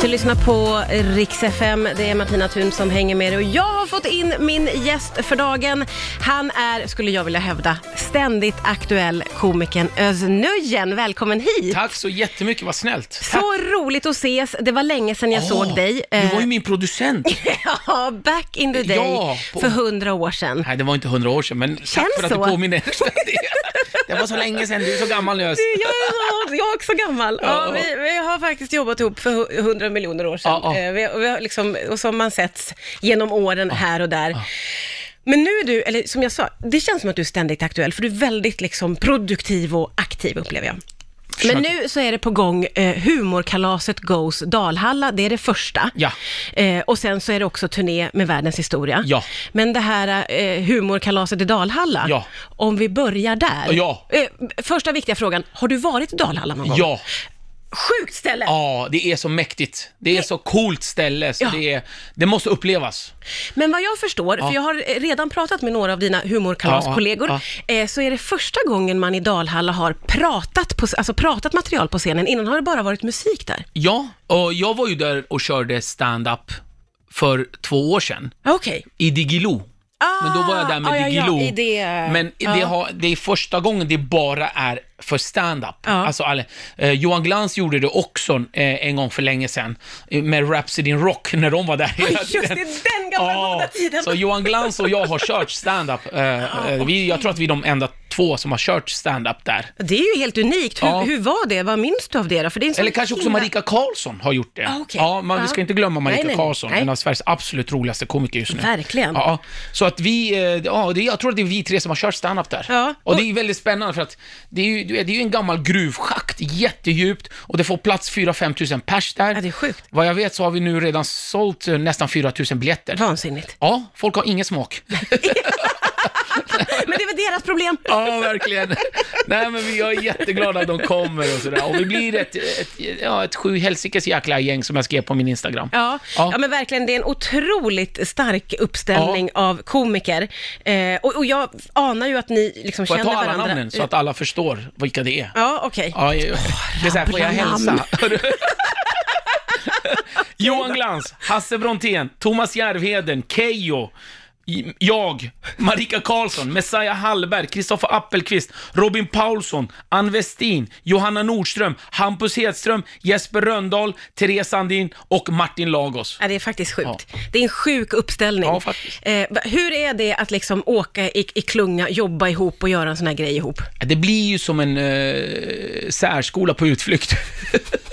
Du lyssnar på Rix FM. Det är Martina Thun som hänger med dig och jag har fått in min gäst för dagen. Han är, skulle jag vilja hävda, ständigt aktuell komikern Özz Nujen. Välkommen hit! Tack så jättemycket, vad snällt. Så roligt att ses. Det var länge sedan jag såg dig. Du var Eh, ju min producent. Ja, back in the day Ja, på- för hundra år sedan. Nej, det var inte hundra år sedan, men tack Känns för att så. du påminner. det var så länge sedan, du är så gammal nu. Özz. Jag är, så, jag är också gammal. Ja, Ja. vi, vi har faktiskt jobbat ihop för hu- hundra miljoner år sedan. Ja, ja. Eh, Vi, vi har liksom, och som man setts genom åren här och där. Men nu är du, eller som jag sa, det känns som att du är ständigt aktuell, för du är väldigt liksom produktiv och aktiv upplever jag. Men Försöker. nu så är det på gång eh, humorkalaset Goes Dalhalla, det är det första. Ja. Eh, och sen så är det också turné med världens historia. Ja. Men det här eh, humorkalaset i Dalhalla, Ja. om vi börjar där. Ja. Eh, första viktiga frågan, har du varit i Dalhalla någon gång? Ja, Sjukt ställe! ja, det är så mäktigt. Det är så coolt ställe, så Ja. det, är, det måste upplevas. Men vad jag förstår, för jag har eh, redan pratat med några av dina humorkalaskollegor, Ja, eh, så är det första gången man i Dalhalla har pratat, på, alltså pratat material på scenen. Innan har det bara varit musik där. Ja, och jag var ju där och körde stand-up för två år sedan, Ja, Okej. i Digilo. Men då var jag där med Ah, ja, ja, Digilo. i det- Men det, ja. har, det är första gången det bara är för stand-up. Ja. Alltså, alla- eh, Johan Glans gjorde det också eh, en gång för länge sedan eh, med Rhapsody in Rock när de var där hela Just det, den gamla goda tiden. Så Johan Glans och jag har kört stand-up. Eh, eh, vi, jag tror att vi är de enda två som har kört stand-up där. Det är ju helt unikt. Hur, Ja. hur var det? Vad minns du av det då? För det är en sån Eller kanske också himla- Marika Karlsson har gjort det. Ah, okej. Ja, man, Ja. Vi ska inte glömma Marika Nej, nej, nej. Karlsson, Nej. en av Sveriges absolut roligaste komiker just nu. Verkligen. Ja, så att vi, eh, ja, det, jag tror att det är vi tre som har kört stand-up där. Ja. Och det är ju väldigt spännande för att det är ju, du vet, det är ju en gammal gruvschakt, jättedjupt, och det får plats 4-5 tusen pers där. Ja, det är sjukt. Vad jag vet så har vi nu redan sålt eh, nästan 4 000 biljetter. Vansinnigt. Ja, folk har ingen smak. Men det är väl deras problem. Ja, verkligen. Nej, men vi- jag är jätteglad att de kommer och sådär. Och vi blir ett, ett, ja, ett sju helsikes jäkla gäng som jag skrev på min Instagram. Ja, ja. Ja. men verkligen. Det är en otroligt stark uppställning av komiker. Eh, och, och jag anar ju att ni liksom Får känner jag ta alla varandra. namnen så att alla förstår vilka det är? Ja, okej. Ja, jag, det är så här, får jag rabbla hälsa? namn. Johan Glans, Hasse Brontén, Thomas Järvheden, Keyyo, i- jag, Marika Karlsson, Messiah Hallberg, Kristoffer Appelqvist, Robin Paulsson, Ann Westin, Johanna Nordström, Hampus Hedström, Jesper Röndahl, Therese Sandin och Martin Lagos. Ja, det är faktiskt sjukt. Det är en sjuk uppställning. Ja, faktiskt. Eh, va- hur är det att liksom åka i, i klunga, jobba ihop och göra en sån här grej ihop? Det blir ju som en eh, särskola på utflykt.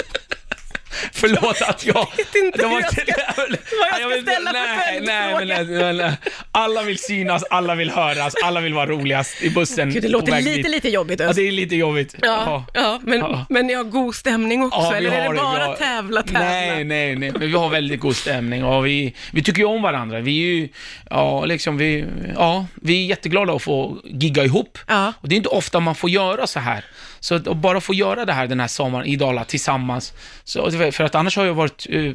Förlåt att jag... vet inte det var hur jag ska- det var- vad jag ska vet inte- ställa för nej, nej, men, nej, följdfråga. nej, nej. Alla vill synas, alla vill höras, alla vill vara roligast i bussen. Gud, det på låter väg lite, dit. lite jobbigt. Ja, Özz. det är lite jobbigt. ja, ja, men, Ja. men ni har god stämning också, Ja, vi eller är har det bara vi har- tävla, tävla? Nej, nej, nej. Men vi har väldigt god stämning och vi, vi tycker ju om varandra. Vi är ju, ja, liksom vi, ja, vi är jätteglada att få gigga ihop. Ja. Och det är inte ofta man får göra så här. Så att och bara få göra det här den här sommaren i Dala tillsammans. Så, för att annars har jag varit eh,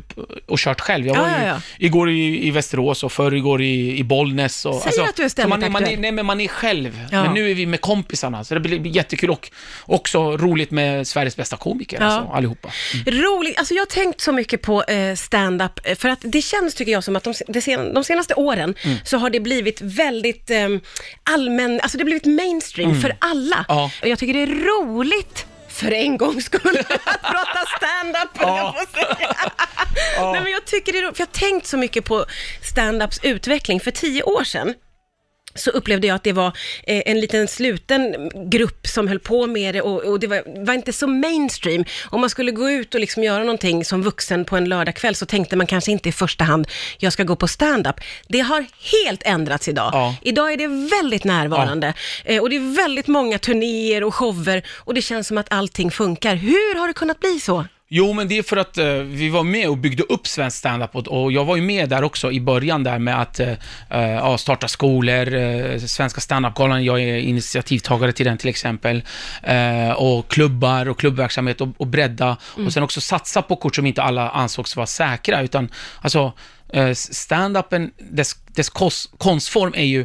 och kört själv. Jag Ja, var ja, ju, ja. igår i, i Västerås och förr igår i, i Bollnäs. Och, alltså, Säger att du är så man, man, aktuell. är- Nej, men man är själv. Ja. Men nu är vi med kompisarna, så det blir blir jättekul och också roligt med Sveriges bästa komiker, alltså, allihopa. Roligt. Alltså jag har tänkt så mycket på eh, stand-up eh, för att det känns, tycker jag, som att de, se- de, sen, de senaste åren Mm. så har det blivit väldigt eh, allmän, alltså det har blivit mainstream för alla. Mm. Ja. Och jag tycker det är roligt för en gångs skull att prata stand-up, höll jag på att säga. Nej, men jag tycker det är roligt, för jag har tänkt så mycket på stand-ups utveckling. För tio år sedan, så upplevde jag att det var eh, en liten sluten grupp som höll på med det och, och det var, var inte så mainstream. Om man skulle gå ut och liksom göra någonting som vuxen på en lördagkväll så tänkte man kanske inte i första hand, jag ska gå på stand-up. Det har helt ändrats idag. Ja. Idag är det väldigt närvarande eh, och det är väldigt många turnéer och shower och det känns som att allting funkar. Hur har det kunnat bli så? Jo, men det är för att eh, vi var med och byggde upp svensk standup och, och jag var ju med där också i början där med att eh, eh, ja, starta skolor, eh, Svenska standupgalan, jag är initiativtagare till den till exempel, eh, och klubbar och klubbverksamhet och, och bredda och sen också satsa på kort som inte alla ansågs vara säkra utan alltså eh, standupen, dess, dess kos, konstform är ju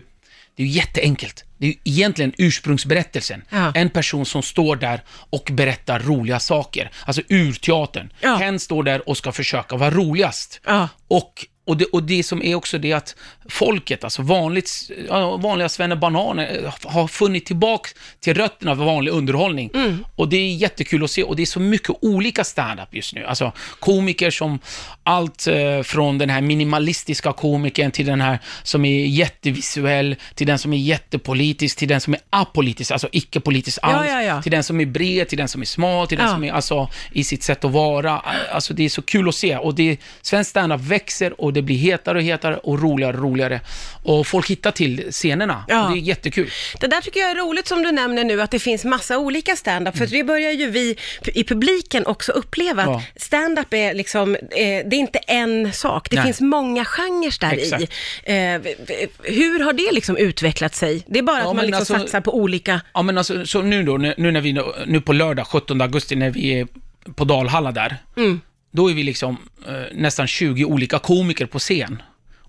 det Det är ju jätteenkelt. Det är ju egentligen ursprungsberättelsen. Ja. En person som står där och berättar roliga saker. Alltså urteatern. Ja. Hen står där och ska försöka vara roligast. Ja. Och, och, det, och det som är också det att folket, alltså vanligt, ja, vanliga svennebananer, eh, har funnit tillbaka till rötterna för vanlig underhållning. Mm. Och det är jättekul att se och det är så mycket olika stand-up just nu. Alltså komiker som allt eh, från den här minimalistiska komikern till den här som är jättevisuell, till den som är jättepolitisk, till den som är apolitisk, alltså icke-politisk Ja, alls, ja, ja. till den som är bred, till den som är smal, till den Ja. som är alltså, i sitt sätt att vara. Alltså, det är så kul att se. Och det, svensk standup växer och det blir hetare och hetare och roligare och roligare. Och folk hittar till scenerna. Ja. Och det är jättekul. Det där tycker jag är roligt som du nämner nu, att det finns massa olika stand-up, för det börjar ju vi i publiken också uppleva, Ja. att stand-up är liksom, eh, det är inte en sak, det Nej. finns många genrer där i. Exakt. Eh, v- v- hur har det liksom utvecklat sig? Det är bara Ja, att man men liksom alltså- satsar på olika... Ja, men alltså, så nu då, nu, nu när vi, nu på lördag 17 augusti när vi är på Dalhalla där, Mm. då är vi liksom eh, nästan 20 olika komiker på scen.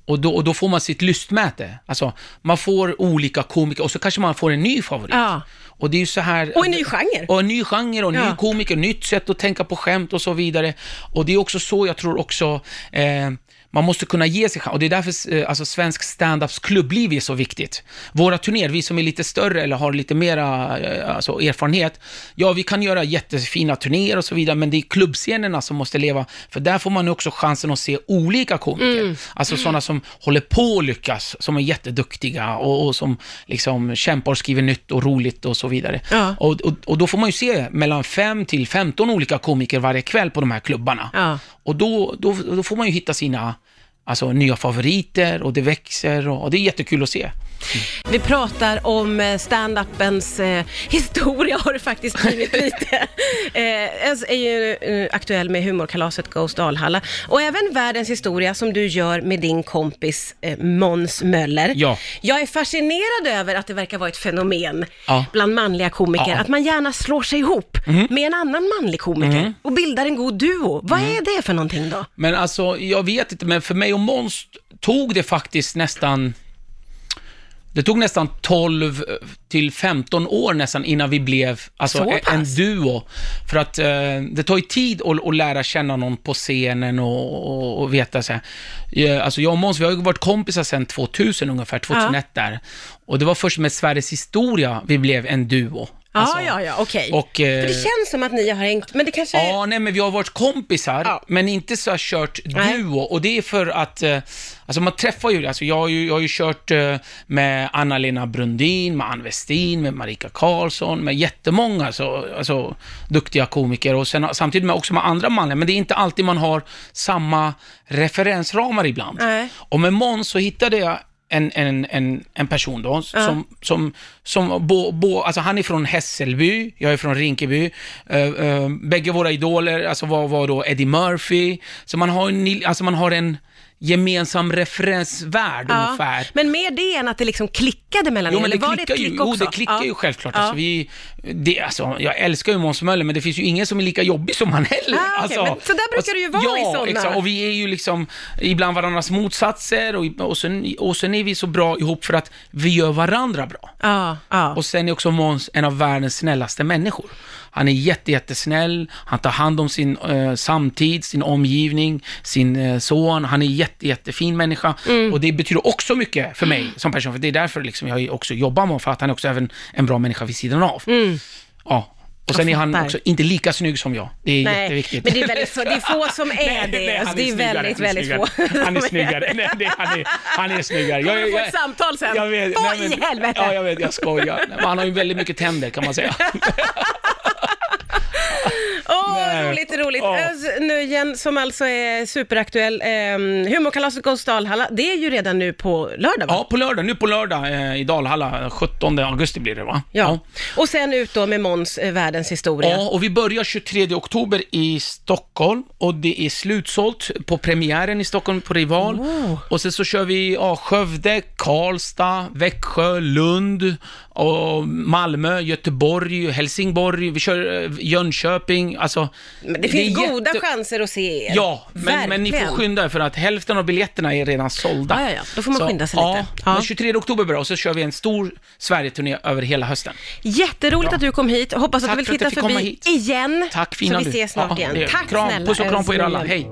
Och då, och då får man sitt lystmäte. Alltså, man får olika komiker och så kanske man får en ny favorit. Ja. Och det är ju så här... Och en ny genre. Och en ny genre och en Ja. ny komiker, nytt sätt att tänka på skämt och så vidare. Och det är också så jag tror också eh, man måste kunna ge sig chans. Och det är därför eh, alltså, svensk standups klubbliv är så viktigt. Våra turnéer, vi som är lite större eller har lite mera eh, alltså, erfarenhet, ja vi kan göra jättefina turnéer och så vidare, men det är klubbscenerna som måste leva. För där får man ju också chansen att se olika komiker. Mm. Alltså sådana som håller på att lyckas, som är jätteduktiga och, och som liksom kämpar och skriver nytt och roligt och så vidare. Ja. Och, och, och då får man ju se mellan 5 till 15 olika komiker varje kväll på de här klubbarna. Ja. Och då, då, då får man ju hitta sina alltså, nya favoriter och det växer och, och det är jättekul att se. Vi pratar om eh, stand-upens eh, historia har det faktiskt blivit lite. Eh, Ens är ju eh, aktuell med humorkalaset Ghost Dalhalla och även världens historia som du gör med din kompis eh, Måns Möller. Ja. Jag är fascinerad över att det verkar vara ett fenomen Ja. bland manliga komiker, Ja. Mhm. att man gärna slår sig ihop med en annan manlig komiker och bildar en god duo. Vad Mhm. är det för någonting då? Men alltså, jag vet inte, men för mig och Måns tog det faktiskt nästan... Det tog nästan 12 till 15 år nästan innan vi blev alltså, Så en- en pass? duo. För att eh, det tar ju tid att, att lära känna någon på scenen och, och, och veta så här. Eh, Alltså jag och Måns, vi har ju varit kompisar sedan 2000 ungefär, 2001 där. Och det var först med Sveriges historia vi blev en duo. Ja, Alltså, ja, ja, okej. och, eh, För det känns som att ni har hängt, men det kanske är... Ja, nej men vi har varit kompisar, Ja. men inte så här kört Nej. duo. Och det är för att, eh, alltså man träffar ju, alltså jag har ju, jag har ju kört eh, med Anna-Lena Brundin, med Ann Westin, med Marika Karlsson, med jättemånga så, alltså, duktiga komiker. Och sen, samtidigt med, också med andra manliga, men det är inte alltid man har samma referensramar ibland. Nej. Och med Måns så hittade jag en, en, en, en person då, som, som, som bo, bo, alltså han är från Hässelby, jag är från Rinkeby. Uh, bägge våra idoler alltså var, var då Eddie Murphy, så man har en, ni- alltså man har en gemensam referensvärld Ja. ungefär. Men mer det än att det liksom klickade mellan Jo, er, men det eller var klickar det ett klick ju. också? Jo, det klickar Ja. ju självklart. Ja. Alltså, vi, det, alltså, jag älskar ju Måns Möller, men det finns ju ingen som är lika jobbig som han heller. Ah, okej, alltså, men så där brukar det ju vara ja, i sådana. Exakt, och vi är ju liksom ibland varandras motsatser och, och, sen, och sen är vi så bra ihop för att vi gör varandra bra. Ja, ja. Och sen är också Måns en av världens snällaste människor. Han är jätte, jättesnäll, han tar hand om sin eh, samtid, sin omgivning, sin eh, son. Han är en jätte, jättefin människa. Mm. Och det betyder också mycket för mig som person, för det är därför liksom jag också jobbar med honom, för att han är också även en bra människa vid sidan av. Ja. Och sen är han Mm. fattar. också inte lika snygg som jag. Det är Nej, jätteviktigt. men det är, väldigt få, det är få som är det. alltså, det är väldigt, väldigt få. Han är som snyggare. Nej, det, han, är, han är snyggare. Kommer du få ett samtal sen? jag vet. Vad Nej, men- i helvete? Ja, jag vet, jag skojar. Nej, men Han har ju väldigt mycket tänder kan man säga. Åh, Nej. roligt, roligt. Ja. Özz Nujen, som alltså är superaktuell, ehm, humorkalaset Ghost Dalhalla, det är ju redan nu på lördag va? Ja, på lördag. Nu på lördag eh, i Dalhalla. 17 augusti blir det va? Ja. Och sen ut då med Måns eh, Världens historia. Ja, och vi börjar 23 oktober i Stockholm och det är slutsålt på premiären i Stockholm på Rival. Och sen så kör vi ja, Skövde, Karlstad, Växjö, Lund och Malmö, Göteborg, Helsingborg, vi kör eh, Jönköping, alltså... Men det finns goda chanser att se er. Ja, men, men ni får Verkligen. skynda er för att hälften av biljetterna är redan sålda. Ja, ja, ja. Då får man så, skynda sig lite. Ja, Ja. men 23 oktober bra och så kör vi en stor Sverigeturné över hela hösten. Jätteroligt att du kom hit. Hoppas att Tack du vill för att titta jag fick komma förbi hit. igen. Tack Så fina vi du. ses snart Ja, igen. det gör vi. Tack kram, snälla. Puss och kram på er alla, älskling. hej.